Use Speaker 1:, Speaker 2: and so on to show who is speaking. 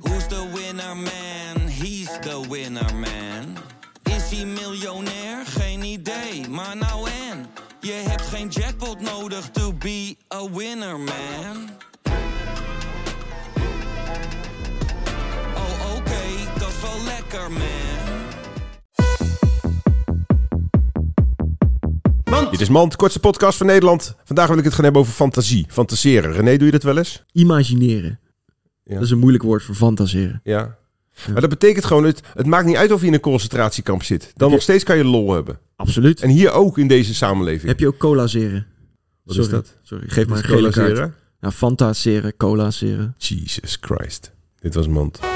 Speaker 1: Who's the winner man? He's the winner man. Is hij miljonair? Geen idee, maar nou en. Je hebt geen jackpot nodig to be a winner man. Oh oké, dat is wel lekker man.
Speaker 2: Dit is Mand, kortste podcast van Nederland. Vandaag wil ik het gaan hebben over fantasie, fantaseren. René, doe je dat wel eens?
Speaker 3: Imagineren.
Speaker 2: Ja.
Speaker 3: Dat is een moeilijk woord voor fantaseren.
Speaker 2: Ja. Maar dat betekent gewoon, het, het maakt niet uit of je in een concentratiekamp zit. Dan nog steeds kan je lol hebben.
Speaker 3: Absoluut.
Speaker 2: En hier ook in deze samenleving.
Speaker 3: Heb je ook colaseren?
Speaker 2: Wat
Speaker 3: Sorry.
Speaker 2: is dat?
Speaker 3: Sorry, geef maar een
Speaker 2: Is
Speaker 3: gele
Speaker 2: colaseren?
Speaker 3: kaart. Ja, fantaseren, colaseren.
Speaker 2: Jesus Christ. Dit was Mand.